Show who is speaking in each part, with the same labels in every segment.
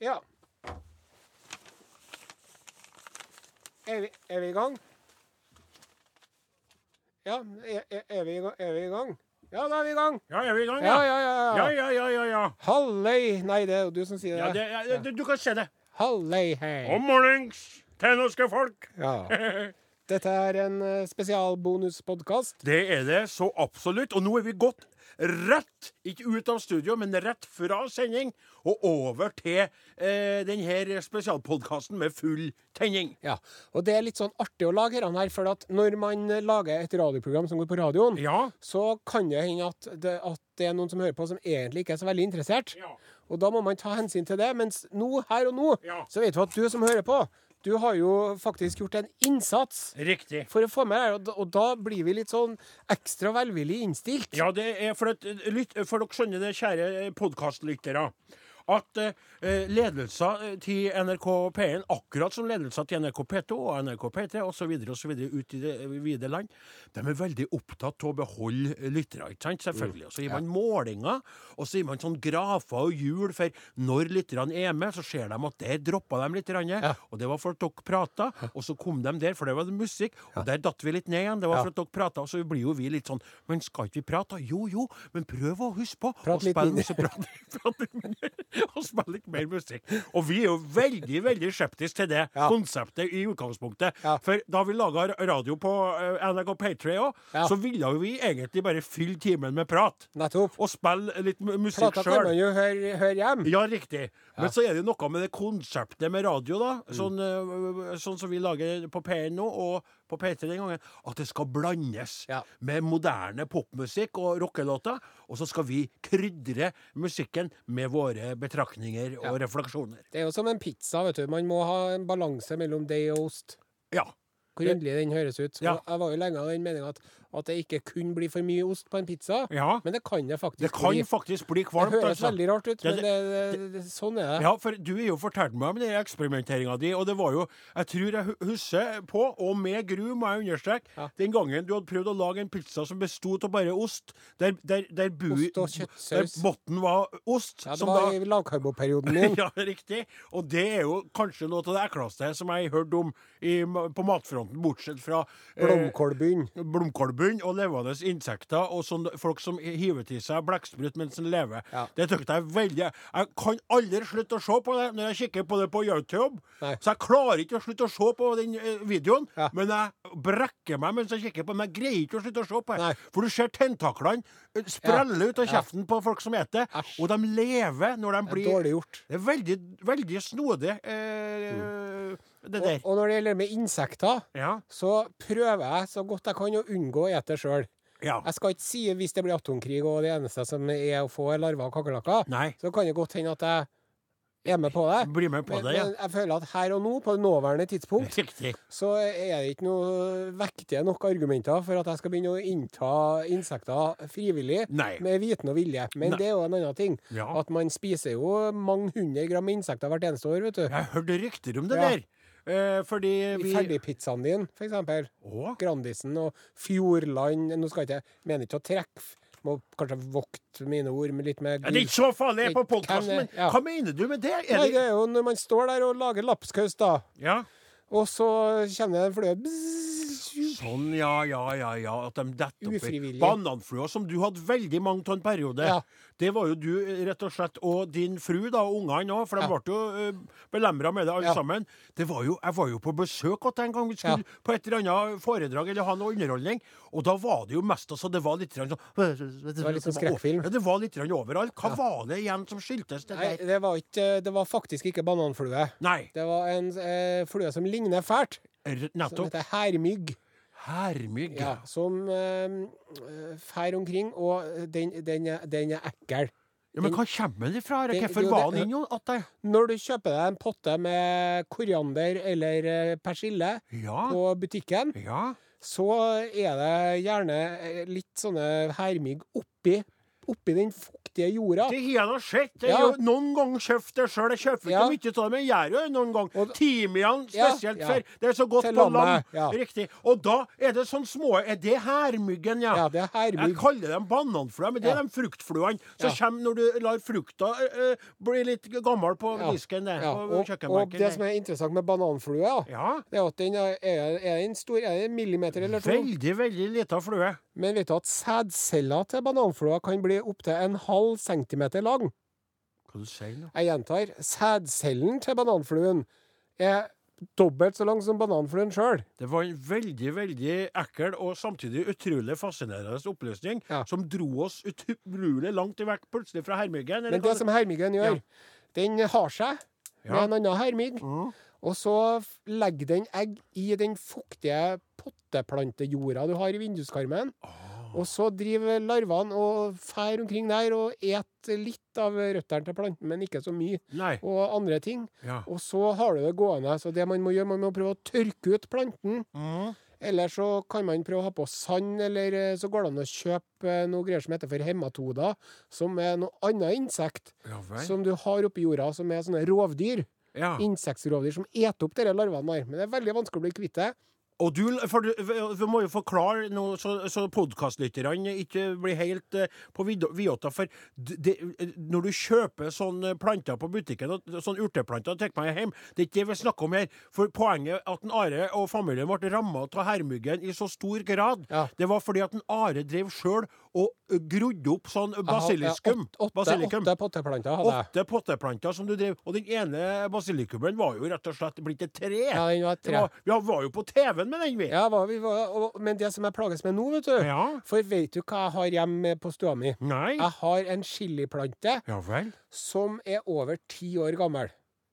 Speaker 1: Ja. Er vi, er vi i gang? Ja, er, er- er, vi, i ga- er vi i gang? Ja, da er vi i gang!
Speaker 2: Ja, er vi i gang,
Speaker 1: Ja,
Speaker 2: ja?
Speaker 1: ja, ja.
Speaker 2: Ja,
Speaker 1: ja.
Speaker 2: ja, ja, ja. ja.
Speaker 1: Halløy! Nei, det er jo du som sier
Speaker 2: ja
Speaker 1: det.
Speaker 2: det, ja, det- du kan se det.
Speaker 1: Halløy, hei.
Speaker 2: Om mornings til norske folk.
Speaker 1: Ja. Dette er en eh, spesialbonuspodkast.
Speaker 2: Det er det så absolutt. Og nå er vi gått rett, ikke ut av studio, men rett fra sending og over til eh, denne spesialpodkasten med full tenning.
Speaker 1: Ja. Og det er litt sånn artig å lage denne her, for at når man eh, lager et radioprogram som går på radioen,
Speaker 2: Ja.
Speaker 1: så kan det hende at det, at det er noen som hører på som egentlig ikke er så veldig interessert.
Speaker 2: Ja.
Speaker 1: Og da må man ta hensyn til det. Mens nå, her og nå,
Speaker 2: Ja.
Speaker 1: så vet du at du som hører på, du har jo faktisk gjort en innsats
Speaker 2: Riktig.
Speaker 1: for å få med deg, og da- og da blir vi litt sånn ekstra velvillig innstilt.
Speaker 2: Ja, det er for, at, eh, lytt, for dere skjønner det, kjære podkastlyttere, at eh, eh, ledelser eh, til NRK P1, akkurat som ledelser til NRK P2 og NRK P3 osv. ut i det eh, vide land, de er veldig opptatt av å beholde lyttere. ikke sant? Selvfølgelig. Og så gir man målinger, og så gir man sånn grafer og hjul for når lytterne er med, så ser de at der droppa de litt. Grann,
Speaker 1: Ja.
Speaker 2: Og det var for at dere prata, og så kom de der, for det var det musikk, og der datt vi litt ned igjen. Det
Speaker 1: Ja.
Speaker 2: var for at dere prata, og så blir jo vi litt sånn Men skal ikke vi prate? da? Jo, jo, men prøv å huske på
Speaker 1: Prat
Speaker 2: å
Speaker 1: litt
Speaker 2: spille
Speaker 1: mindre.
Speaker 2: så prat, prat litt mindre, og spille litt mer musikk. Og vi er jo veldig, veldig skeptiske til det
Speaker 1: Ja.
Speaker 2: konseptet i utgangspunktet.
Speaker 1: Ja.
Speaker 2: For da vi laga radio på eh, NRK P3 òg,
Speaker 1: Ja.
Speaker 2: så ville jo vi egentlig bare fylle timen med prat.
Speaker 1: Nettopp.
Speaker 2: Og spille litt mu- musikk
Speaker 1: Plata kan
Speaker 2: sjøl.
Speaker 1: man jo høre, høre hjem.
Speaker 2: Ja, riktig. Men så er det jo noe med det konseptet med radio, da.
Speaker 1: Mm.
Speaker 2: Sånn, eh, sånn som vi lager på P1 nå, og på P3 den gangen. At det skal blandes
Speaker 1: Ja.
Speaker 2: med moderne popmusikk og rockelåter. Og så skal vi krydre musikken med våre betraktninger og refleksjoner.
Speaker 1: Det er jo som en pizza, vet du. Man må ha en balanse mellom deig og ost.
Speaker 2: Ja.
Speaker 1: Hvor underlig den høres ut.
Speaker 2: Ja.
Speaker 1: Og Jeg var jo lenge av den meninga at, at det ikke kunne bli for mye ost på en pizza,
Speaker 2: ja.
Speaker 1: men det kan det faktisk
Speaker 2: Det kan
Speaker 1: bli.
Speaker 2: faktisk bli
Speaker 1: Det
Speaker 2: kvalmt,
Speaker 1: høres
Speaker 2: altså.
Speaker 1: veldig rart ut,
Speaker 2: Ja,
Speaker 1: men det, det, det, sånn er det.
Speaker 2: Ja, for du har jo fortalt meg om den eksperimenteringa di, og det var jo Jeg tror jeg hu- husker på, og med gru, må jeg understreke,
Speaker 1: Ja.
Speaker 2: den gangen du hadde prøvd å lage en pizza som bestod av bare ost, der, der, der, bu,
Speaker 1: Ost og
Speaker 2: der
Speaker 1: kjøttsaus.
Speaker 2: bunnen var ost,
Speaker 1: Ja, det
Speaker 2: som
Speaker 1: var
Speaker 2: da
Speaker 1: i lavkarboperioden min.
Speaker 2: ja, riktig. Og det er jo kanskje noe av det ekleste som jeg har hørt om i, ma- på matfronten, bortsett fra eh,
Speaker 1: Blomkålbunn.
Speaker 2: blomkålbunn og levende insekter og sånn folk som hiver til seg blekksprut mens den lever.
Speaker 1: Ja.
Speaker 2: Det syns jeg er veldig Jeg kan aldri slutte å se på det når jeg kikker på det på YouTube.
Speaker 1: Nei.
Speaker 2: Så jeg klarer ikke å slutte å se på den eh, videoen,
Speaker 1: Ja.
Speaker 2: men jeg brekker meg mens jeg kikker på den. Jeg greier ikke å slutte å se på
Speaker 1: Nei.
Speaker 2: det. For du ser tentaklene eh, sprelle ut av
Speaker 1: Ja.
Speaker 2: kjeften på folk som spiser det,
Speaker 1: Æsj.
Speaker 2: og de lever når de
Speaker 1: Det er
Speaker 2: blir
Speaker 1: Dårlig gjort.
Speaker 2: Det er veldig, veldig snodig, eh, det
Speaker 1: Mm.
Speaker 2: der.
Speaker 1: Og, og når det gjelder med insekter,
Speaker 2: Ja.
Speaker 1: så prøver jeg så godt jeg kan å unngå å ete sjøl.
Speaker 2: ja.
Speaker 1: Jeg skal ikke si hvis det blir atomkrig og det eneste som er å få, er larver og kakerlakker.
Speaker 2: Nei.
Speaker 1: Så kan det godt hende at jeg er med på det.
Speaker 2: Bli med på
Speaker 1: Men,
Speaker 2: det, ja.
Speaker 1: men jeg føler at her og nå, på det nåværende tidspunkt,
Speaker 2: Riktig.
Speaker 1: så er det ikke noe vektige nok argumenter for at jeg skal begynne å innta insekter frivillig
Speaker 2: Nei.
Speaker 1: med viten og vilje. Men
Speaker 2: Nei.
Speaker 1: det er jo en annen ting.
Speaker 2: Ja.
Speaker 1: At man spiser jo mange hundre gram insekter hvert eneste år, vet du.
Speaker 2: Jeg hørte rykter om det
Speaker 1: Ja.
Speaker 2: der. Eh, fordi
Speaker 1: I
Speaker 2: vi
Speaker 1: ferdigpizzaen din, for eksempel.
Speaker 2: Å?
Speaker 1: Grandisen og Fjordland Nå skal ikke, jeg mener ikke å trekke Må kanskje vokte mine ord med litt med
Speaker 2: Ja, det er ikke så farlig jeg er på
Speaker 1: Kan det-
Speaker 2: podkasten, men
Speaker 1: ja.
Speaker 2: hva mener du med det? Er
Speaker 1: Nei, det
Speaker 2: det
Speaker 1: er jo når man står der og lager lapskaus, da,
Speaker 2: ja.
Speaker 1: og så kjenner jeg en flue bzzz,
Speaker 2: Sånn, ja, ja, ja, ja. At de detter oppi.
Speaker 1: Ufrivillig.
Speaker 2: Bananflua, som du hadde veldig mange av en periode.
Speaker 1: Ja.
Speaker 2: Det var jo du, eh, rett og slett, og din fru, da, og ungene òg, for de
Speaker 1: Ja.
Speaker 2: ble jo uh, belemra med det, alle
Speaker 1: Ja.
Speaker 2: sammen. Det var jo, jeg var jo på besøk hos deg en gang, vi skulle
Speaker 1: Ja.
Speaker 2: på et eller annet foredrag eller ha noe underholdning, og da var det jo mest altså, det var litt grann sånn Det
Speaker 1: var litt sånn skrekkfilm.
Speaker 2: Ja, det var litt grann overalt. Hva var det igjen som skyldtes det
Speaker 1: Nei,
Speaker 2: der?
Speaker 1: det var, ikke, det var faktisk ikke bananflue.
Speaker 2: Nei.
Speaker 1: Det var en eh, flue som ligner fælt,
Speaker 2: R-
Speaker 1: som
Speaker 2: Nettopp.
Speaker 1: heter hermygg.
Speaker 2: Hermygg.
Speaker 1: Sånn, Ja, som eh, eh, fær omkring, og den, den, er, den er ekkel.
Speaker 2: Ja, men hva kommer det fra?
Speaker 1: Det-
Speaker 2: Hvorfor
Speaker 1: jo,
Speaker 2: var
Speaker 1: det-
Speaker 2: han inne hos deg?
Speaker 1: Når du kjøper deg en potte med koriander eller eh, persille
Speaker 2: Ja.
Speaker 1: på butikken,
Speaker 2: Ja.
Speaker 1: så er det gjerne eh, litt sånne hermygg oppi oppi den fuktige jorda.
Speaker 2: Det har jeg nå sett. Jeg
Speaker 1: Ja.
Speaker 2: har jo noen ganger kjøpt det sjøl. Jeg kjøper ikke
Speaker 1: Ja.
Speaker 2: mye av det, men jeg gjør jo det noen ganger.
Speaker 1: Og-
Speaker 2: Timian
Speaker 1: Ja,
Speaker 2: spesielt
Speaker 1: ja.
Speaker 2: for det er så godt
Speaker 1: Til
Speaker 2: på
Speaker 1: lammet,
Speaker 2: lam.
Speaker 1: ja.
Speaker 2: Riktig. Og da er det sånn små Er det hermyggen, ja?
Speaker 1: Ja, det er hermygg.
Speaker 2: Jeg kaller dem bananfluer, men det er
Speaker 1: Ja.
Speaker 2: de fruktfluene som
Speaker 1: Ja.
Speaker 2: kommer når du lar frukta ø, ø, bli litt gammel på
Speaker 1: Ja,
Speaker 2: disken der.
Speaker 1: ja,
Speaker 2: På
Speaker 1: og, og
Speaker 2: kjøkkenbenken.
Speaker 1: det som er interessant med bananflue, ja,
Speaker 2: Ja.
Speaker 1: det er at den er, er er den stor, er det en millimeter eller to?
Speaker 2: Veldig, veldig lita flue.
Speaker 1: Men vet du at sædceller til bananflua kan bli opptil en halv centimeter lang?
Speaker 2: Hva du sier nå?
Speaker 1: Jeg gjentar, sædcellen til bananfluen er dobbelt så lang som bananfluen sjøl.
Speaker 2: Det var en veldig veldig ekkel og samtidig utrolig fascinerende oppløsning
Speaker 1: Ja.
Speaker 2: som dro oss utrolig langt vekk plutselig fra Hermyggen. eller
Speaker 1: Men
Speaker 2: hva
Speaker 1: det som hermiggen gjør,
Speaker 2: Ja.
Speaker 1: den har seg med
Speaker 2: Ja.
Speaker 1: en annen hermigg,
Speaker 2: Mhm.
Speaker 1: og så f- legger den egg i den fuktige potteplantejorda du har i vinduskarmen. Og så driver larvene og fær omkring der og et litt av røttene til planten, men ikke så mye,
Speaker 2: Nei.
Speaker 1: og andre ting.
Speaker 2: Ja.
Speaker 1: Og så har du det gående. Så det man må gjøre, man må prøve å tørke ut planten.
Speaker 2: Mhm.
Speaker 1: Eller så kan man prøve å ha på sand, eller eh, så går det an å kjøpe eh, noe greier som heter for hematoda, som er noe annet insekt
Speaker 2: Ja vel.
Speaker 1: som du har oppi jorda, som er sånne rovdyr.
Speaker 2: ja.
Speaker 1: Insektrovdyr som eter opp disse larvene der. Men det er veldig vanskelig å bli kvitt det.
Speaker 2: Og du, for du, vi må jo forklare noe, så, så podkastlytterne ikke blir helt eh, på vidda- vidåtta. For d- det, når du kjøper sånne planter på butikken, og sånne urteplanter, tar meg hjem, det er ikke det vi snakker om her. For poenget at en Are og familien ble ramma av hermyggen i så stor grad,
Speaker 1: Ja.
Speaker 2: det var fordi at en Are drev sjøl og grodde opp sånn
Speaker 1: Jeg
Speaker 2: basiliskum.
Speaker 1: har, eh, åtte-
Speaker 2: basilikum.
Speaker 1: Åtte potteplanter hadde jeg.
Speaker 2: Åtte potteplanter som du drev. Og den ene basilikummen var jo rett og slett blitt et tre.
Speaker 1: Ja, den var et
Speaker 2: Det
Speaker 1: tre.
Speaker 2: var, vi var jo på TV-en med den, vi.
Speaker 1: Ja, hva vi var, og, men det som jeg plages med nå, vet du
Speaker 2: Ja.
Speaker 1: For vet du hva jeg har hjemme på stua mi?
Speaker 2: Nei.
Speaker 1: Jeg har en chiliplante
Speaker 2: Ja vel.
Speaker 1: som er over ti år gammel.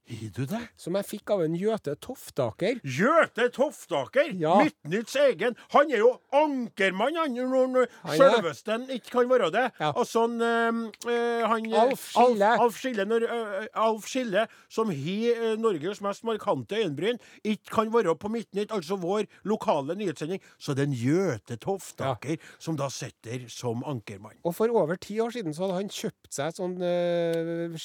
Speaker 2: Har du det?
Speaker 1: Som jeg fikk av en Jøte Toftaker.
Speaker 2: Jøte Toftaker!
Speaker 1: Ja.
Speaker 2: Midtnytts egen. Han er jo ankermann, han. Når når
Speaker 1: Han er-
Speaker 2: sjølveste han ikke kan være det.
Speaker 1: Ja.
Speaker 2: Og sånn eh, eh, han, eh,
Speaker 1: Alf Skille.
Speaker 2: Alf, Alf Skille, når, eh, Alf Skille som har eh, Norges mest markante øyenbryn, ikke kan være på Midtnytt, altså vår lokale nyhetssending. Så det er en Jøte Toftaker som da sitter som ankermann.
Speaker 1: Og for over ti år siden så hadde han kjøpt seg et sånn uh,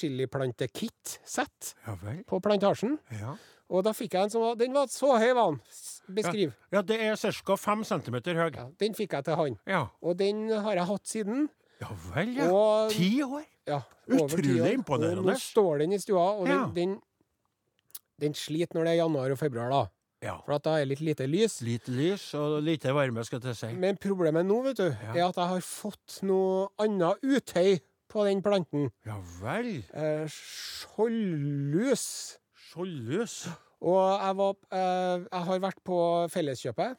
Speaker 1: chiliplante-kit-sett
Speaker 2: Ja vel.
Speaker 1: på plantasjen.
Speaker 2: Ja.
Speaker 1: Og da fikk jeg en som var Den var så høy, var den. S- Beskriv.
Speaker 2: Ja, det er ca. fem centimeter høy.
Speaker 1: Ja, den fikk jeg til han.
Speaker 2: Ja.
Speaker 1: Og den har jeg hatt siden.
Speaker 2: Ja vel, ja.
Speaker 1: Og-
Speaker 2: Ti år?
Speaker 1: Ja, over
Speaker 2: Utrolig
Speaker 1: ti år.
Speaker 2: imponerende.
Speaker 1: Og nå står den i stua, og den,
Speaker 2: Ja.
Speaker 1: den, den sliter når det er januar og februar, da.
Speaker 2: Ja.
Speaker 1: For at da er det litt lite lys.
Speaker 2: Lite lys og lite varme, skal jeg til å si.
Speaker 1: Men problemet nå, vet du, er at jeg har fått noe annet utøy på den planten.
Speaker 2: Ja vel.
Speaker 1: Eh, Skjoldlus.
Speaker 2: Skjoldløs.
Speaker 1: Og jeg, var, eh, jeg har vært på Felleskjøpet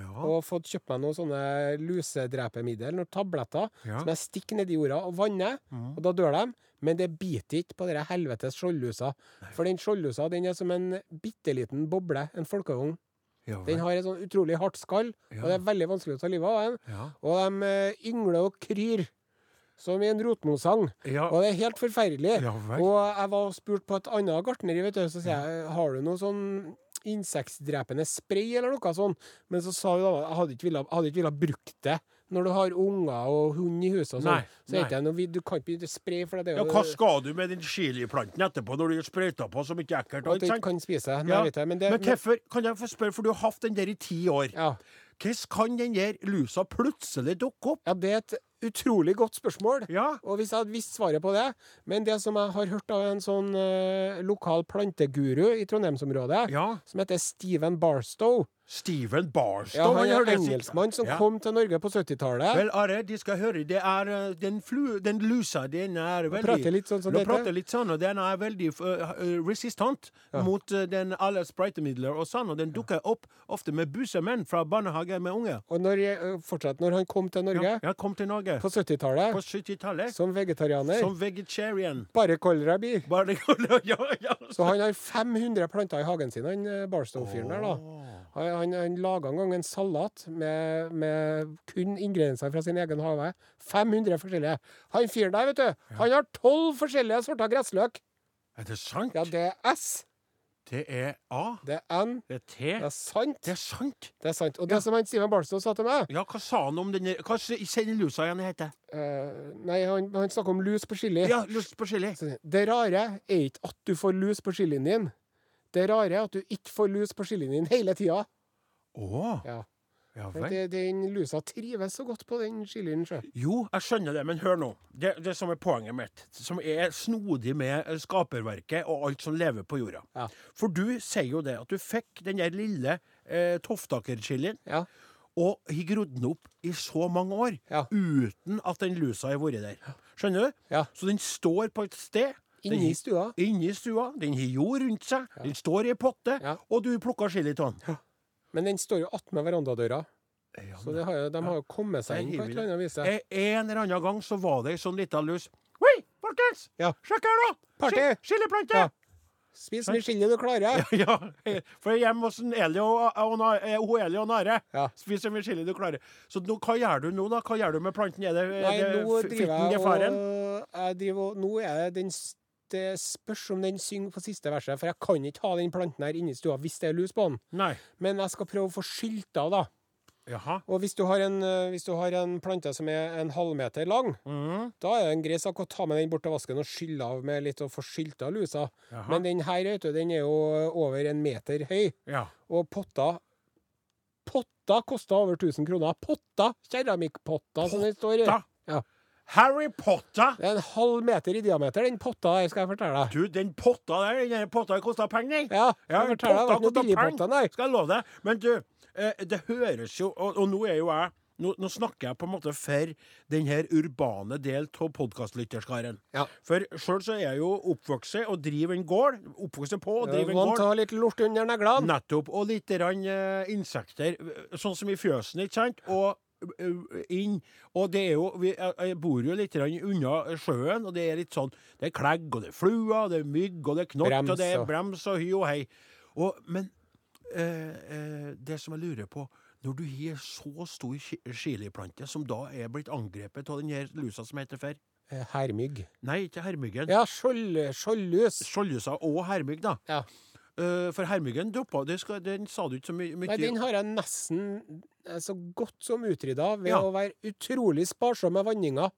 Speaker 2: Ja.
Speaker 1: og fått kjøpt meg noen sånne lusedrepemiddel, noen tabletter,
Speaker 2: Ja. Mm.
Speaker 1: som jeg stikker nedi jorda og vanner, og da dør de. Men det biter ikke på denne helvetes skjoldlusa. For den skjoldlusa den er som en bitte liten boble, en folkevogn.
Speaker 2: Ja
Speaker 1: Den
Speaker 2: vel.
Speaker 1: har et sånn utrolig hardt skall, og det er veldig vanskelig å ta livet av den.
Speaker 2: Ja.
Speaker 1: Og de eh, yngler og kryr som i en rotmosang.
Speaker 2: Ja.
Speaker 1: Og det er helt forferdelig.
Speaker 2: Ja vel.
Speaker 1: og jeg var og spurte på et annet gartneri, vet du, så sier jeg har du noe sånn insektdrepende spray eller noe sånn? Men så sa hun da jeg hadde ikke villet, hadde ikke villet brukt det. Når du har unger og hund i huset og
Speaker 2: Nei,
Speaker 1: sånn, så er
Speaker 2: nei.
Speaker 1: ikke det noe vi- Du kan ikke begynne å spraye, for det er
Speaker 2: ja,
Speaker 1: jo
Speaker 2: hva skal du med den chiliplanten etterpå når du sprøyter på så mye ekkelt?
Speaker 1: At du
Speaker 2: ikke
Speaker 1: ikke
Speaker 2: sant?
Speaker 1: kan spise. Nei,
Speaker 2: Ja.
Speaker 1: vet jeg, men det
Speaker 2: Men hvorfor, kan jeg få spørre, for du har hatt den der i ti år.
Speaker 1: ja.
Speaker 2: Hvordan kan den der lusa plutselig dukke opp?
Speaker 1: ja, det er et utrolig godt spørsmål.
Speaker 2: Ja.
Speaker 1: Og hvis jeg hadde visst svaret på det Men det som jeg har hørt av en sånn eh, lokal planteguru i Trondheimsområdet,
Speaker 2: Ja.
Speaker 1: som heter Steven Barstow
Speaker 2: Steven
Speaker 1: Ja,
Speaker 2: Barstow.
Speaker 1: han er
Speaker 2: det sikkert.
Speaker 1: engelskmann som
Speaker 2: Ja.
Speaker 1: kom til Norge på 70-tallet.
Speaker 2: Vel, Are, de skal høre. Det er eh, den, flu, den lusa, den er veldig
Speaker 1: prater litt sånn som
Speaker 2: Du
Speaker 1: dette.
Speaker 2: prater litt sånn, og den er veldig eh, eh, resistant mot eh, den alle sprøytemidler og sånn. Og den dukker opp ofte med busemenn fra barnehage med unger.
Speaker 1: Og når, eh, fortsatt, når han kom til Norge
Speaker 2: Ja, ja, kom til Norge
Speaker 1: på
Speaker 2: på,
Speaker 1: 70-tallet
Speaker 2: 70-tallet
Speaker 1: som vegetarianer
Speaker 2: som vegetarian.
Speaker 1: Bare kålrabi.
Speaker 2: Bare, ja, ja.
Speaker 1: Så han har 500 planter i hagen sin, han eh, Barstow-fyren der, da. Han, han, han laga en gang en salat med, med kun ingredienser fra sin egen hage. 500 forskjellige. Han fyren der, vet du, han har 12 forskjellige sorter gressløk.
Speaker 2: Er det sant?
Speaker 1: Ja, det er S.
Speaker 2: Det er A.
Speaker 1: Det er N.
Speaker 2: Det er T.
Speaker 1: Det er sant.
Speaker 2: Det er sant.
Speaker 1: Det er sant. Og det som han Steven Barstow sa til meg
Speaker 2: Ja, hva sa han om den Hva s- sier den lusa igjen heter?
Speaker 1: eh, Nei, han, han snakka om lus på chili.
Speaker 2: Ja, lyst på chili.
Speaker 1: Så sier han, Det rare er ikke at du får lus på chilien din. Det rare er at du ikke får lus på chilien din hele tida.
Speaker 2: Å,
Speaker 1: Ja.
Speaker 2: ja
Speaker 1: For
Speaker 2: vel.
Speaker 1: det- Den lusa trives så godt på den chilien. sjø.
Speaker 2: Jo, jeg skjønner det, men hør nå. Det, det som er poenget mitt, som er snodig med eh, skaperverket og alt som lever på jorda.
Speaker 1: Ja.
Speaker 2: For du sier jo det, at du fikk den der lille eh, toftakerchilien,
Speaker 1: Ja.
Speaker 2: og har grodd den opp i så mange år
Speaker 1: Ja.
Speaker 2: uten at den lusa har vært der. Skjønner du?
Speaker 1: Ja.
Speaker 2: Så den står på et sted. Den
Speaker 1: Inni
Speaker 2: har-
Speaker 1: stua.
Speaker 2: Inni stua. Den har jord rundt seg. Den står i ei potte,
Speaker 1: Ja.
Speaker 2: og du plukker chili av den.
Speaker 1: Men den står jo attmed verandadøra,
Speaker 2: Ja,
Speaker 1: så det har, jo- de har jo kommet seg
Speaker 2: Der
Speaker 1: inn på
Speaker 2: hiver
Speaker 1: et
Speaker 2: det.
Speaker 1: eller annet vis. ja.
Speaker 2: Eh, En eller annen gang så var det ei sånn lita lus. Oi, folkens!
Speaker 1: Ja.
Speaker 2: Sjekk her, da!
Speaker 1: Party!
Speaker 2: Skil- Skilleplante!
Speaker 1: Ja. Spis mye chili du klarer.
Speaker 2: Eh, Ja, eh, for hjemme hos en Eli og, og, Na- eh, hun Eli og Nare
Speaker 1: Ja.
Speaker 2: spiser mye chili du klarer. Så nå, hva gjør du nå, da? Hva gjør du med planten? Er det, er
Speaker 1: Nei,
Speaker 2: Eh, det
Speaker 1: nå
Speaker 2: f-
Speaker 1: driver
Speaker 2: i
Speaker 1: jeg
Speaker 2: faren?
Speaker 1: og eh, jeg driver, og- Nå er det den s- Det spørs om den synger på siste verset, for jeg kan ikke ha den planten her inne i stua hvis det er lus på den.
Speaker 2: Nei.
Speaker 1: Men jeg skal prøve å få skylta, da.
Speaker 2: Jaha.
Speaker 1: Og hvis du har en, eh, hvis du har en plante som er en halvmeter lang,
Speaker 2: Mhm.
Speaker 1: da er det en grei sak å ta med den bort til vasken og skylle av med litt og få skylta lusa.
Speaker 2: Jaha.
Speaker 1: Men den her, vet du, den er jo eh, over en meter høy.
Speaker 2: Ja.
Speaker 1: Og potta Potta kosta over 1000 kroner. Potta! Keramikkpotta, som det står i.
Speaker 2: Da.
Speaker 1: Ja.
Speaker 2: Harry Potter!
Speaker 1: Det er en halv meter i diameter, den potta her, skal jeg fortelle deg.
Speaker 2: Du, den potta der, den der potta kosta penger, den.
Speaker 1: Ja,
Speaker 2: Ja,
Speaker 1: jeg
Speaker 2: en
Speaker 1: forteller deg, det var ikke
Speaker 2: potta
Speaker 1: noe billig
Speaker 2: koster
Speaker 1: potta, nei.
Speaker 2: Skal jeg love deg. Men du, eh, det høres jo Og, og nå er jo jeg nå, nå snakker jeg på en måte for den her urbane del av podkastlytterskaren.
Speaker 1: Ja.
Speaker 2: For sjøl så er jeg jo oppvokst og driver en gård. Oppvokst på og driver en
Speaker 1: Vant til
Speaker 2: gård.
Speaker 1: å ha litt lort under neglene.
Speaker 2: Nettopp. Og litt rann, eh, insekter. Sånn som i fjøsen, ikke sant? Og eh, inn. Og det er jo vi, jeg, jeg bor jo litt rann unna sjøen, og det er litt sånn Det er klegg, og det er fluer, og det er mygg, og det er knott,
Speaker 1: Brems
Speaker 2: og det er
Speaker 1: og-
Speaker 2: brems og hy og hei. Og, men eh, eh, det som jeg lurer på Når du har så stor chi- chiliplante, som da er blitt angrepet av den her lusa som heter for
Speaker 1: Eh, Hermygg.
Speaker 2: Nei, ikke hermyggen.
Speaker 1: Ja, skjold- skjoldlus.
Speaker 2: Skjoldlusa og hermygg, da.
Speaker 1: Ja.
Speaker 2: Eh, for hermyggen droppa det skal, Den sa du ikke så my mye
Speaker 1: Nei, den har jeg nesten eh, så godt som utrydda ved
Speaker 2: Ja.
Speaker 1: å være utrolig sparsom med vanninga.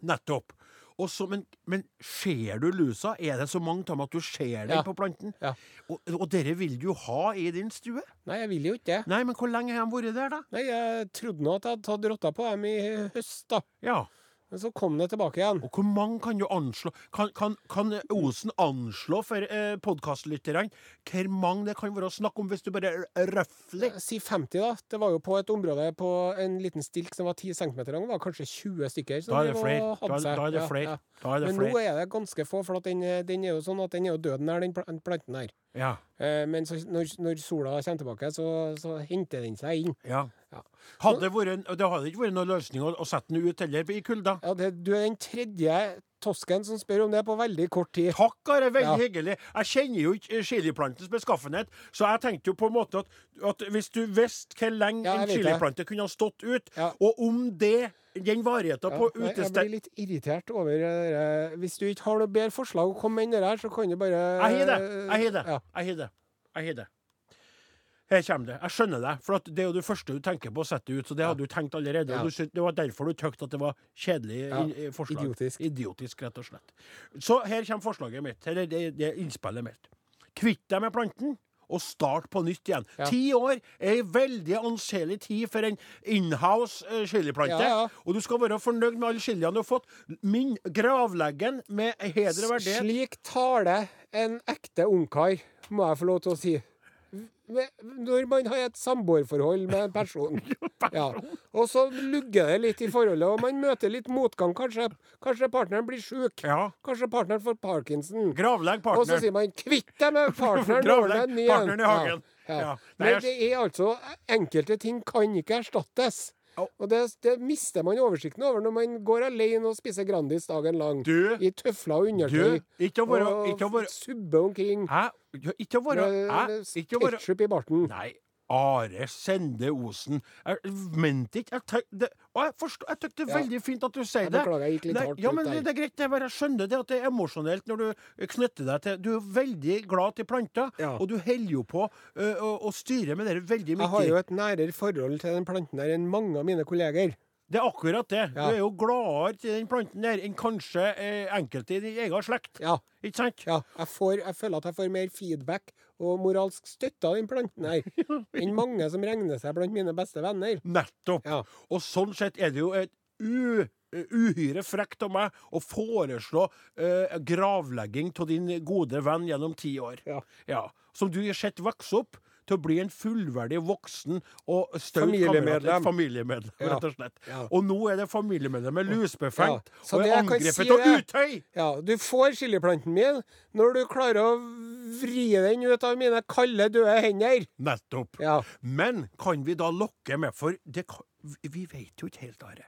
Speaker 2: Nettopp. Og så- men, men ser du lusa? Er det så mange av dem at du ser den
Speaker 1: Ja.
Speaker 2: på planten?
Speaker 1: Ja.
Speaker 2: Og, og dere vil du ha i din stue?
Speaker 1: Nei, jeg vil jo ikke det.
Speaker 2: Nei, men hvor lenge har de vært der, da?
Speaker 1: Nei, jeg trodde nå at jeg hadde tatt rotta på dem i høst, da.
Speaker 2: Ja.
Speaker 1: Men så kom det tilbake igjen.
Speaker 2: Og hvor mange kan du anslå Kan, kan, kan Osen anslå for eh, podkastlytterne hvor mange det kan være snakk om, hvis du bare r- røfler?
Speaker 1: Si 50, da. Det var jo på et område på en liten stilk som var 10 cm lang. Det var kanskje 20 stykker. som
Speaker 2: Da er det
Speaker 1: drev og
Speaker 2: flere. Da,
Speaker 1: hadde
Speaker 2: er-
Speaker 1: seg.
Speaker 2: da er det
Speaker 1: Ja,
Speaker 2: flere.
Speaker 1: ja.
Speaker 2: Da er det
Speaker 1: Men nå
Speaker 2: flere.
Speaker 1: er det ganske få, for at den, den er jo sånn at den er jo døden her, den pla- planten her.
Speaker 2: Ja.
Speaker 1: Eh, Men så, når, når sola kommer tilbake, så, så henter den seg inn.
Speaker 2: Ja.
Speaker 1: Ja.
Speaker 2: Hadde det, vært, en- det hadde ikke vært noen løsning å, å sette den ut heller i kulda.
Speaker 1: Ja, det, du er den tredje tosken som spør om det på veldig kort tid.
Speaker 2: Takk, Are. Veldig
Speaker 1: Ja.
Speaker 2: hyggelig. Jeg kjenner jo ikke chiliplantens beskaffenhet, så jeg tenkte jo på en måte at, at hvis du visste hvor lenge
Speaker 1: Ja, jeg
Speaker 2: en
Speaker 1: vet det.
Speaker 2: chiliplante kunne ha stått ut,
Speaker 1: Ja.
Speaker 2: og om det den varigheten
Speaker 1: Ja,
Speaker 2: på
Speaker 1: nei, jeg
Speaker 2: utested
Speaker 1: blir litt irritert over det der. Hvis du ikke har noe bedre forslag å komme med enn det der, så kan du bare
Speaker 2: Jeg har det. Jeg har det.
Speaker 1: Eh, Ja.
Speaker 2: Jeg har det. Jeg har det. Her kommer det. Jeg skjønner det. For at det er jo det første du tenker på å sette ut. Så det hadde du tenkt allerede.
Speaker 1: Ja.
Speaker 2: Og du, sy- det var derfor du tykte at det var kjedelig
Speaker 1: Ja.
Speaker 2: i- i forslag.
Speaker 1: Idiotisk.
Speaker 2: Idiotisk, rett og slett. Så her kommer forslaget mitt. Eller det, det er innspillet mitt. Kvitt deg med planten. Og start på nytt igjen.
Speaker 1: Ja.
Speaker 2: Ti år er ei veldig anselig tid for en inhouse eh, chiliplante.
Speaker 1: Ja, ja.
Speaker 2: Og du skal være fornøyd med alle chiliene du har fått. Min gravleggen med heder og verdighet
Speaker 1: Slik taler en ekte ungkar, må jeg få lov til å si. Ve- Når man har et samboerforhold med en person. Ja. Og så lugger det litt i forholdet, og man møter litt motgang. Kanskje, kanskje partneren blir sjuk.
Speaker 2: Ja.
Speaker 1: Kanskje partneren får parkinson.
Speaker 2: Gravlegg
Speaker 1: Og så
Speaker 2: partneren.
Speaker 1: sier man 'kvitt deg med partneren'.
Speaker 2: Dra
Speaker 1: ordne
Speaker 2: deg
Speaker 1: en ny
Speaker 2: partneren i
Speaker 1: en».
Speaker 2: hagen.
Speaker 1: Ja.
Speaker 2: Ja.
Speaker 1: Ja.
Speaker 2: Nei,
Speaker 1: Men
Speaker 2: jeg-
Speaker 1: det er altså Enkelte ting kan ikke erstattes.
Speaker 2: Au.
Speaker 1: Og det, det mister man oversikten over når man går alene og spiser Grandis dagen lang.
Speaker 2: Du-
Speaker 1: I tøfler og undertøy.
Speaker 2: Du, ikke å være
Speaker 1: og
Speaker 2: Ikke å være
Speaker 1: subbe omkring
Speaker 2: Hæ? Ikke å være
Speaker 1: med
Speaker 2: Hæ? Ikke å være
Speaker 1: ketsjup i barten.
Speaker 2: Nei. Are Sende Osen. Jeg mente ikke jeg tenk- det, Og jeg forstår, jeg tykker det er
Speaker 1: Ja.
Speaker 2: veldig fint at du sier
Speaker 1: Jeg
Speaker 2: det.
Speaker 1: beklager, jeg gikk litt
Speaker 2: Nei,
Speaker 1: hardt
Speaker 2: ja,
Speaker 1: ut
Speaker 2: men
Speaker 1: der.
Speaker 2: det, det er greit, det er bare jeg skjønner det at det er emosjonelt når du knytter deg til Du er veldig glad til planter,
Speaker 1: Ja.
Speaker 2: og du holder jo på ø, å, å styre med det veldig mye.
Speaker 1: Jeg har jo et nærere forhold til den planten her enn mange av mine kolleger.
Speaker 2: Det er akkurat det.
Speaker 1: Ja.
Speaker 2: Du er jo gladere til den planten der enn kanskje eh, enkelte i din egen slekt.
Speaker 1: Ja,
Speaker 2: Ikke sant?
Speaker 1: ja. Jeg, får, jeg føler at jeg får mer feedback og moralsk støtte av den planten her enn mange som regner seg blant mine beste venner.
Speaker 2: Nettopp.
Speaker 1: Ja.
Speaker 2: Og sånn sett er det jo et u uhyre frekt av meg å foreslå eh, gravlegging av din gode venn gjennom ti år.
Speaker 1: Ja.
Speaker 2: Som du har sett vokse opp til å bli en fullverdig voksen og staut
Speaker 1: Familiemedlem.
Speaker 2: kamerat- Familiemedlem,
Speaker 1: Ja.
Speaker 2: rett og slett.
Speaker 1: Ja.
Speaker 2: Og nå er det familiemedlemmet lusbefengt
Speaker 1: Ja. Så
Speaker 2: og
Speaker 1: det
Speaker 2: er
Speaker 1: jeg kan si
Speaker 2: angrepet av
Speaker 1: er-
Speaker 2: Utøy!
Speaker 1: Ja, du får chiliplanten min når du klarer å vri den ut av mine kalde, døde hender.
Speaker 2: Nettopp.
Speaker 1: Ja.
Speaker 2: Men kan vi da lokke med For det, kan- vi- vi vet jo ikke helt, Are,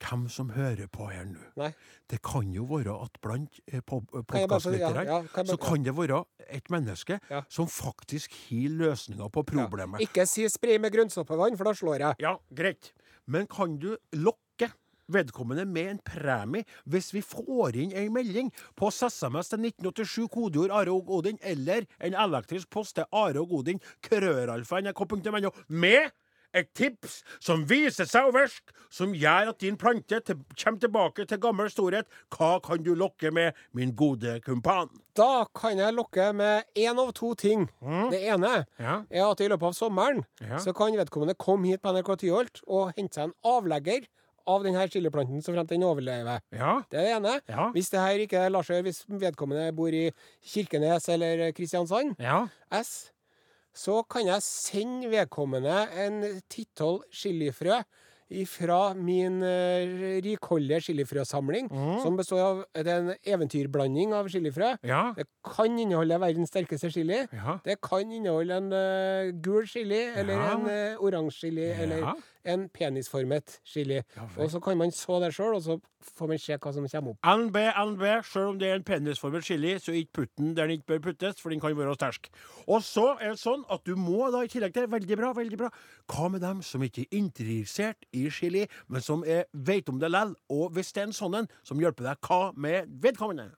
Speaker 2: hvem som hører på her nå.
Speaker 1: Nei.
Speaker 2: Det kan jo være at blant eh,
Speaker 1: jeg bare få- ja,
Speaker 2: podkastlytterne
Speaker 1: ja, kan jeg
Speaker 2: så
Speaker 1: bare-
Speaker 2: kan det være et menneske
Speaker 1: Ja.
Speaker 2: som faktisk har løsninger på problemet. Ja,
Speaker 1: Ikke si spray med grønnsåpevann, for da slår jeg.
Speaker 2: greit. Men kan du lokke vedkommende med en premie hvis vi får inn en melding på SMS til 1987 kodeord Are og Odin eller en elektrisk post til Are og Odin krøralfa nrk.no med et tips som viser seg å virke, som gjør at din plante til, kommer tilbake til gammel storhet. Hva kan du lokke med, min gode kumpan?
Speaker 1: Da kan jeg lokke med én av to ting. Det ene
Speaker 2: Ja.
Speaker 1: er at i løpet av sommeren
Speaker 2: Mm. Ja.
Speaker 1: så kan vedkommende komme hit på NRK Tyholt og hente seg en avlegger av denne chiliplanten, så fremt den overlever.
Speaker 2: Ja.
Speaker 1: Det er det ene.
Speaker 2: Ja.
Speaker 1: Hvis det her ikke lar seg gjøre, hvis vedkommende bor i Kirkenes eller Kristiansand
Speaker 2: Ja.
Speaker 1: S, så kan jeg sende vedkommende en tittoll chilifrø fra min eh, rikholdige chilifrøsamling,
Speaker 2: Mm.
Speaker 1: som består av det er en eventyrblanding av chilifrø.
Speaker 2: Ja.
Speaker 1: Det kan inneholde verdens sterkeste chili.
Speaker 2: Ja.
Speaker 1: Det kan inneholde en eh, gul chili, eller
Speaker 2: Ja.
Speaker 1: en eh, oransje chili, eller
Speaker 2: Ja.
Speaker 1: en penisformet chili.
Speaker 2: vel.
Speaker 1: og så kan man så det sjøl, og så får man se hva som kommer opp.
Speaker 2: NB, NB, sjøl om det er en penisformet chili, så ikke putt den der den ikke bør puttes, for den kan være sterk. Og så er det sånn at du må da i tillegg til Veldig bra, veldig bra. Hva med dem som ikke er interessert i chili, men som er, vet om det lell? Og hvis det er en sånn en som hjelper deg, hva med vedkommende?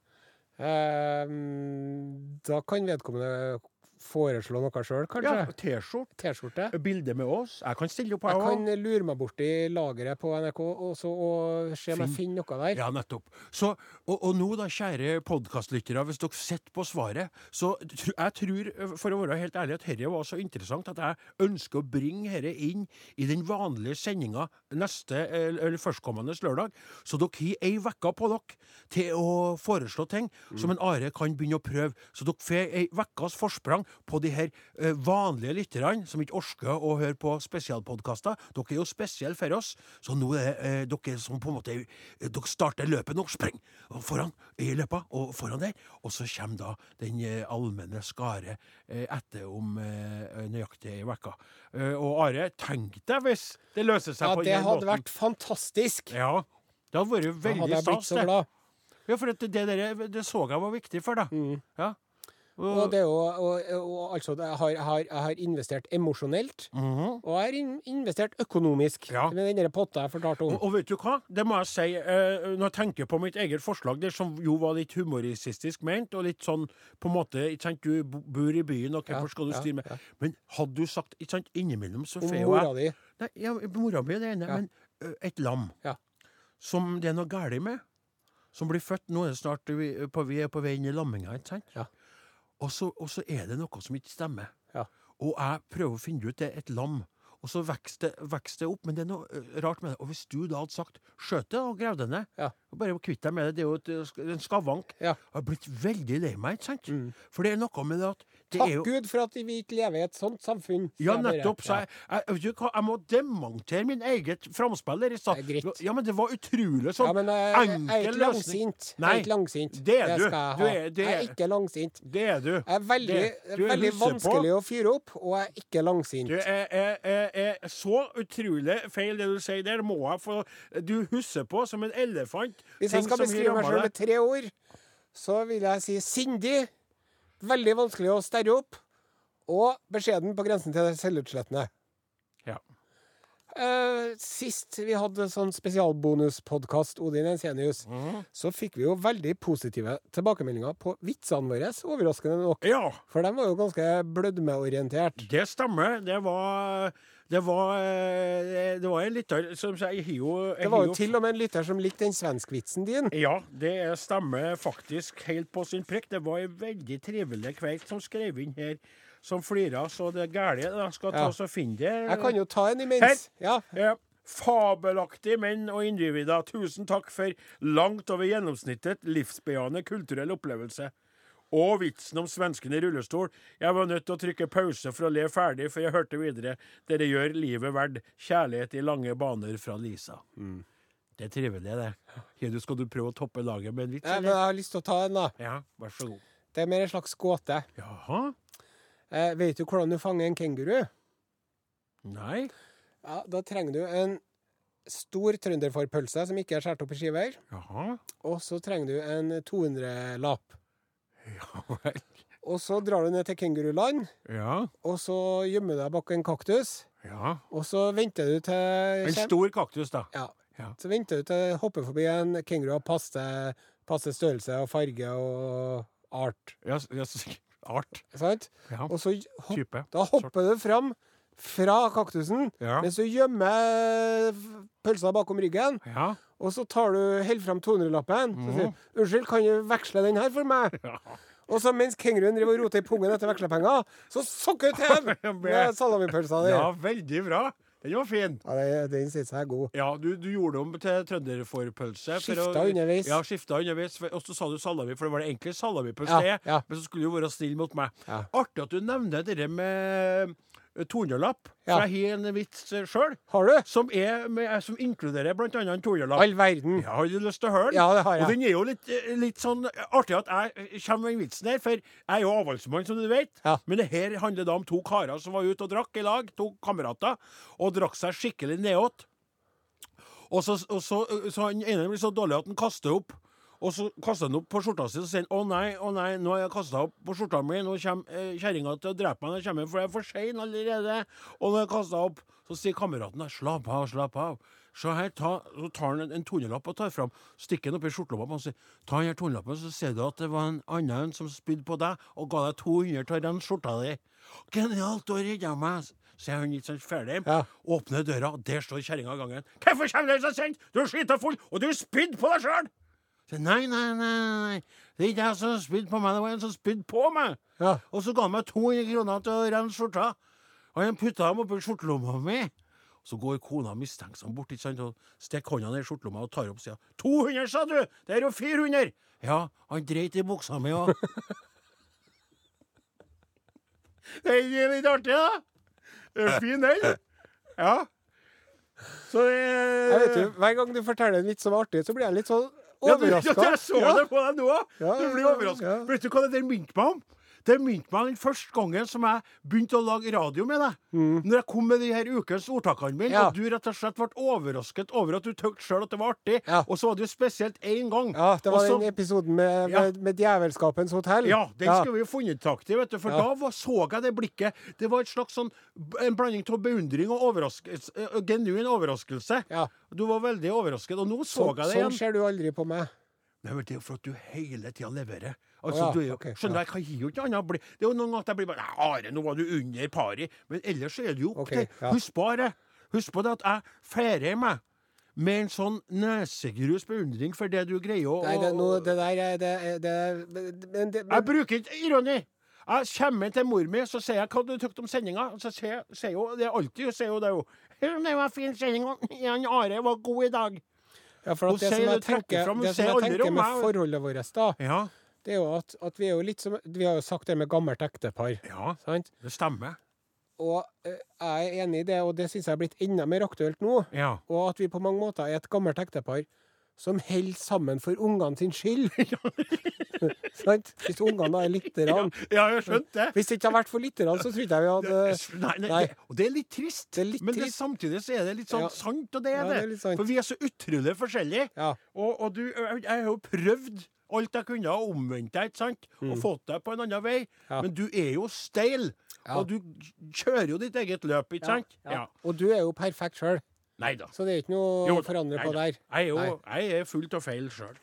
Speaker 1: Eh, Ehm, da kan vedkommende foreslå noe sjøl, kanskje.
Speaker 2: T-skjorte.
Speaker 1: T-skjorte.
Speaker 2: Bilde med oss. Jeg kan stille opp,
Speaker 1: Jeg
Speaker 2: jeg
Speaker 1: kan
Speaker 2: òg.
Speaker 1: lure meg borti lageret på NRK og, så, og se om jeg finner noe der.
Speaker 2: Ja, nettopp. Så, og, og nå da, kjære podkastlyttere, hvis dere sitter på svaret, så tr jeg tror, eh, for å være helt ærlig, at dette var så interessant at jeg ønsker å bringe dette inn i den vanlige sendinga neste, eller eller førstkommende lørdag. Så dere har ei uke på dere til å foreslå ting som en Are kan begynne å prøve. Så dere får ei ukes forsprang på de her eh, vanlige lytterne som ikke orker å høre på spesialpodkaster. Dere er jo spesielle for oss, så nå er eh, dere som på en måte eh, Dere starter løpet nå, spring Og foran i løpa og foran der, og så kommer da den eh, allmenne skare eh, etter om eh, nøyaktig ei uke. Eh, og Are, tenk deg hvis det løser seg
Speaker 1: Ja,
Speaker 2: på
Speaker 1: det
Speaker 2: den
Speaker 1: hadde
Speaker 2: måten.
Speaker 1: vært fantastisk!
Speaker 2: Ja, det hadde vært
Speaker 1: Da hadde
Speaker 2: veldig
Speaker 1: jeg blitt
Speaker 2: stas,
Speaker 1: så
Speaker 2: det.
Speaker 1: glad.
Speaker 2: Ja, for at det, det, der, det så jeg var viktig for deg. Ja. Og,
Speaker 1: Mm. Og det er jo og, og, Altså, jeg har, jeg har, jeg har investert emosjonelt,
Speaker 2: Mhm.
Speaker 1: og jeg har in investert økonomisk
Speaker 2: Ja.
Speaker 1: med den der potta jeg fortalte om.
Speaker 2: og, og vet du hva? Det må jeg si. Eh, når jeg tenker på mitt eget forslag, der som jo var litt humoristisk ment, og litt sånn på en måte ikke sant, Du bo- bor i byen, og hvorfor skal du
Speaker 1: ja,
Speaker 2: styre med Men hadde du sagt ikke sant, innimellom, så
Speaker 1: Om
Speaker 2: får jo
Speaker 1: mora
Speaker 2: jeg
Speaker 1: di.
Speaker 2: Nei, ja, Mora mi er det ene,
Speaker 1: Ja.
Speaker 2: men ø, et lam
Speaker 1: Ja.
Speaker 2: som det er noe galt med, som blir født Nå er det snart vi, på, vi er på vei inn i lamminga, ikke sant?
Speaker 1: Ja.
Speaker 2: Og, så, og så er det noe som ikke stemmer.
Speaker 1: Ja.
Speaker 2: Og jeg prøver å finne ut det er et lam. Og så vokser det, vokser det opp, men det er noe ø, rart med det. Og hvis du da hadde sagt 'skjøt det' og grav det ned,
Speaker 1: Ja.
Speaker 2: og bare kvitt deg med det, det er jo et, ø, sk- en skavank,
Speaker 1: Ja. Mm.
Speaker 2: jeg har blitt veldig lei meg, ikke sant? For det er noe med det at det
Speaker 1: Takk
Speaker 2: er jo
Speaker 1: Gud for at vi ikke lever i et sånt samfunn. sier
Speaker 2: ja,
Speaker 1: jeg bare.
Speaker 2: nettopp. Så jeg, jeg, vet du hva, jeg må demontere min eget framspiller i stad.
Speaker 1: Det er greit.
Speaker 2: Ja, men det var utrolig
Speaker 1: Ja,
Speaker 2: sånn
Speaker 1: men eh, jeg, jeg, er
Speaker 2: enkel
Speaker 1: ikke
Speaker 2: løsning.
Speaker 1: langsint. Jeg
Speaker 2: Nei,
Speaker 1: er ikke langsint.
Speaker 2: det er du.
Speaker 1: skal jeg
Speaker 2: Du
Speaker 1: ha.
Speaker 2: er- det
Speaker 1: Jeg
Speaker 2: er-
Speaker 1: er ikke langsint.
Speaker 2: Det er du.
Speaker 1: Jeg er veldig,
Speaker 2: Det- du er
Speaker 1: veldig
Speaker 2: russe på.
Speaker 1: vanskelig å fyre opp, og jeg er ikke langsint.
Speaker 2: Du er, er, er, er så utrolig feil, det du sier der. Må jeg få Du husker på som en elefant
Speaker 1: Hvis jeg skal
Speaker 2: som
Speaker 1: beskrive meg
Speaker 2: rammer
Speaker 1: sjøl
Speaker 2: deg.
Speaker 1: med tre ord, så vil jeg si sindig, veldig vanskelig å sterre opp, Og beskjeden på grensen til det selvutslettende.
Speaker 2: Ja.
Speaker 1: Eh, sist vi hadde sånn spesialbonuspodkast, Odin Ensenius,
Speaker 2: Mhm.
Speaker 1: så fikk vi jo veldig positive tilbakemeldinger på vitsene våre, overraskende nok.
Speaker 2: Ja,
Speaker 1: For de var jo ganske blødmeorientert.
Speaker 2: det stemmer. Det var Det var, eh, det var en lytter som sier Jeg har jo jeg
Speaker 1: Det var
Speaker 2: har
Speaker 1: jo til og med en lytter som likte den svenskvitsen din.
Speaker 2: Ja, det er- stemmer faktisk helt på sin prikk. Det var ei veldig trivelig kveik som skrev inn her, som flira så det gæle. Jeg skal ta
Speaker 1: Ja.
Speaker 2: oss og finne det.
Speaker 1: Jeg kan jo ta en imens. Ja.
Speaker 2: Ja. Fabelaktige menn og individer, tusen takk for langt over gjennomsnittet livsbejaende kulturell opplevelse. Og vitsen om svensken i rullestol. Jeg var nødt til å trykke pause for å le ferdig, for jeg hørte videre. Dere gjør livet verd. Kjærlighet i lange baner fra Lisa. Det er trivelig, det. Hedu, skal du prøve å toppe laget med en vits,
Speaker 1: Nei, men jeg
Speaker 2: eller?
Speaker 1: har lyst til å ta en, da.
Speaker 2: Ja, vær så god.
Speaker 1: Det er mer en slags gåte.
Speaker 2: Jaha?
Speaker 1: Eh, vet du hvordan du fanger en kenguru?
Speaker 2: Nei?
Speaker 1: Ja, Da trenger du en stor trønderfårpølse som ikke er skåret opp i skiver.
Speaker 2: Jaha?
Speaker 1: Og så trenger du en 200-lapp.
Speaker 2: Ja vel.
Speaker 1: Og så drar du ned til kenguruland,
Speaker 2: Ja.
Speaker 1: og så gjemmer du deg bak en kaktus.
Speaker 2: Ja.
Speaker 1: Og så venter du til
Speaker 2: En stor kaktus, da.
Speaker 1: Ja.
Speaker 2: Ja.
Speaker 1: Så venter du til hopper forbi en kenguru av passe, passe størrelse og farge og art.
Speaker 2: Ja, s- ja, s- art.
Speaker 1: Sant?
Speaker 2: Ja.
Speaker 1: Og så hop,
Speaker 2: Type.
Speaker 1: da hopper du fram fra kaktusen,
Speaker 2: Ja.
Speaker 1: mens du gjemmer f- pølsa bakom ryggen.
Speaker 2: Ja.
Speaker 1: Og så tar du, holder frem 200-lappen så
Speaker 2: Mhm.
Speaker 1: sier du 'Unnskyld, kan du veksle den her for meg?' Og så mens kenguruen driver og roter i pungen etter vekslepenger, så sokker du til
Speaker 2: Ja,
Speaker 1: den med salamipølsa di.
Speaker 2: ja, veldig bra. Den var fin.
Speaker 1: Ja, det- den synes jeg er god.
Speaker 2: Ja, du, du gjorde om til trønderfårpølse. for å-
Speaker 1: Skifta underveis.
Speaker 2: Ja, skifta underveis. for- Og så sa du salami, for det var det egentlig salamipølse
Speaker 1: Ja,
Speaker 2: er.
Speaker 1: ja.
Speaker 2: Men så skulle du være snill mot meg.
Speaker 1: Ja.
Speaker 2: Artig at du nevner det der med 200-lapp.
Speaker 1: Ja.
Speaker 2: For jeg har en vits sjøl
Speaker 1: Har du?
Speaker 2: som, er med- som inkluderer bl.a. en 200-lapp.
Speaker 1: All verden.
Speaker 2: Ja, har du lyst til å høre den?
Speaker 1: Ja, det har jeg.
Speaker 2: Og den er jo litt, eh, litt sånn artig at jeg kommer med den vitsen her, for jeg er jo avholdsmann, som du vet.
Speaker 1: Ja.
Speaker 2: Men det her handler da om to karer som var ute og drakk i lag, to kamerater, og drakk seg skikkelig nedåt. Og så, og så, eh, så han ene blir så dårlig at han kaster opp. Og så kaster han opp på skjorta si og sier han, 'Å nei, å nei, nå har jeg kasta opp på skjorta mi.' 'Nå kommer eh, kjerringa til å drepe meg når jeg kommer, for jeg er for sein allerede.' Og når jeg kasta opp, så sier kameraten 'Slapp av, slapp av'. Se her, ta, så tar han en, en 200-lapp og tar fram, stikker den oppi skjortelomma på han og sier 'Ta den her 200-lappen, så ser du at det var en annen en som spydde på deg og ga deg 200 av den skjorta di.' 'Genialt, du har redda meg', sier han litt sånn ferdig.
Speaker 1: Ja.
Speaker 2: Åpner døra, og der står kjerringa i gangen. 'Hvorfor kommer du så sent? Du er skita full, og du spydde på deg sjøl!' Så, Nei, nei, nei, nei. Det er ikke jeg som har spydd på meg, det var en som spydde på meg.
Speaker 1: Ja.
Speaker 2: Og så ga han meg 200 kroner til å rense skjorta. Og han putta dem oppi skjortelomma mi. Så går kona mistenksom bort ikke sant, og stikker hånda ned i skjortelomma og tar opp sida. 200, sa du! Det er jo 400! Ja, han dreit i buksa mi òg. Den er litt artig, da. Det er Fin, den. Ja. Så det
Speaker 1: Jeg vet jo, Hver gang du forteller en vits som er artig, så blir jeg litt sånn
Speaker 2: Ja, du-
Speaker 1: overraska.
Speaker 2: Ja, jeg så det på deg nå!
Speaker 1: Ja,
Speaker 2: du blir
Speaker 1: ja,
Speaker 2: overraska.
Speaker 1: ja.
Speaker 2: Vet du hva det der minte meg om? Det minte meg den første gangen som jeg begynte å lage radio med deg. Når jeg kom med de her ukens ordtakene
Speaker 1: Mm.
Speaker 2: mine,
Speaker 1: Ja.
Speaker 2: og du rett og slett ble overrasket over at du tøkte sjøl at det var artig.
Speaker 1: Ja.
Speaker 2: Og så var det jo spesielt én gang.
Speaker 1: Ja, det var
Speaker 2: og så-
Speaker 1: den episoden med,
Speaker 2: Ja.
Speaker 1: med, med Djevelskapens hotell.
Speaker 2: ja, den skulle vi jo funnet tak i, vet du, for
Speaker 1: Ja.
Speaker 2: da var, så jeg det blikket. Det var et slags sånn, en blanding av beundring og overraskelse, eh, genuin overraskelse.
Speaker 1: Ja.
Speaker 2: Du var veldig overrasket, og nå så,
Speaker 1: Sånn
Speaker 2: jeg det
Speaker 1: sånn
Speaker 2: igjen.
Speaker 1: ser du aldri på meg.
Speaker 2: Nei, men Det er jo for at du hele tida leverer. Altså,
Speaker 1: Å ja,
Speaker 2: du er jo,
Speaker 1: ok,
Speaker 2: skjønner jeg, jeg gir jo ikke annet bli. Det er jo noen ganger at jeg blir bare «Nei, Are, nå var du under pari. Men ellers er det jo opp
Speaker 1: Ok,
Speaker 2: til
Speaker 1: ja.
Speaker 2: Husk på det. Husk på det at jeg feirer meg med en sånn nesegrus beundring for det du greier å
Speaker 1: Nei, det, nå, det der er det, er- det, er- men det, men,
Speaker 2: Jeg bruker ikke ironi! Jeg kommer til mor mi, så sier jeg hva du tykte om sendinga. Så sier, sier hun det er alltid, hun sier jo det jo. Det var fin sending, og Jan Are var god i dag.
Speaker 1: ja, for
Speaker 2: hun
Speaker 1: at det
Speaker 2: sier
Speaker 1: som jeg
Speaker 2: det trekker
Speaker 1: tenker,
Speaker 2: fram, hun
Speaker 1: det som
Speaker 2: sier
Speaker 1: jeg
Speaker 2: aldri
Speaker 1: tenker
Speaker 2: om
Speaker 1: med
Speaker 2: meg.
Speaker 1: forholdet vårt, da,
Speaker 2: Ja,
Speaker 1: det er jo at, at vi er jo litt som Vi har jo sagt det med gammelt ektepar.
Speaker 2: ja,
Speaker 1: Sant?
Speaker 2: det stemmer.
Speaker 1: Og eh, jeg er enig i det, og det syns jeg er blitt enda mer aktuelt nå.
Speaker 2: Ja.
Speaker 1: Og at vi på mange måter er et gammelt ektepar som holder sammen for ungene sin skyld. Sant? Hvis ungene da er lytterne.
Speaker 2: Ja, ja, jeg skjønte det.
Speaker 1: Hvis det ikke hadde vært for lytterne, så tror jeg ikke vi hadde
Speaker 2: Nei, nei,
Speaker 1: Eh, Nei.
Speaker 2: Det, og det er litt trist,
Speaker 1: Det er litt
Speaker 2: men det,
Speaker 1: trist.
Speaker 2: samtidig så er det litt sånn
Speaker 1: Ja.
Speaker 2: sant, og det er
Speaker 1: Ja,
Speaker 2: det.
Speaker 1: det er litt sant.
Speaker 2: For vi er så utrolig forskjellige.
Speaker 1: Ja.
Speaker 2: Og, og du, jeg jeg har jo prøvd alt jeg kunne, og omvendt deg, ikke sant? Og fått deg på en annen vei.
Speaker 1: Mm. Ja.
Speaker 2: Men du er jo steil,
Speaker 1: Ja.
Speaker 2: og du kjører jo ditt eget løp, ikke sant?
Speaker 1: Ja. Og du er jo perfekt sjøl,
Speaker 2: Nei da.
Speaker 1: så det er ikke noe
Speaker 2: Jo
Speaker 1: å
Speaker 2: da,
Speaker 1: forandre
Speaker 2: nei
Speaker 1: på
Speaker 2: da.
Speaker 1: der.
Speaker 2: Jeg er jo jeg er fullt av feil sjøl.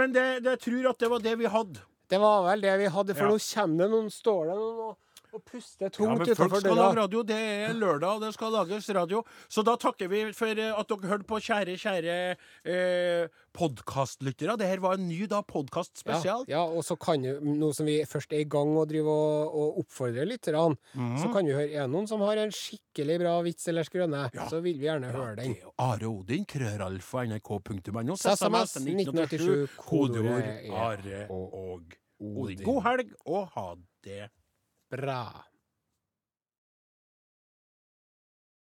Speaker 2: Men det, det, jeg tror at det var det vi hadde.
Speaker 1: Det var vel det vi hadde, for
Speaker 2: Ja.
Speaker 1: nå kommer det noen, står det noen og, og puster
Speaker 2: Ja,
Speaker 1: tungt
Speaker 2: men folk
Speaker 1: utenfor
Speaker 2: skal lage
Speaker 1: døra.
Speaker 2: radio. Det er lørdag, og det skal lages radio. Så da takker vi for eh, at dere hørte på, kjære, kjære eh, podkastlyttere. Det her var en ny da, podkast
Speaker 1: Ja,
Speaker 2: spesial.
Speaker 1: ja, og så kan jo, nå som vi først er i gang og driver og, og oppfordrer lytterne, så
Speaker 2: Mhm.
Speaker 1: kan vi høre er det noen som har en skikkelig bra vits eller skrøne,
Speaker 2: Ja.
Speaker 1: så vil vi gjerne høre
Speaker 2: Det
Speaker 1: den.
Speaker 2: er jo Are Odin, krøralfa, nrk.no.
Speaker 1: SMS 1987,
Speaker 2: kodeord
Speaker 1: kodeordet er
Speaker 2: Are
Speaker 1: og
Speaker 2: og Odin. God helg, og ha det
Speaker 1: Bra.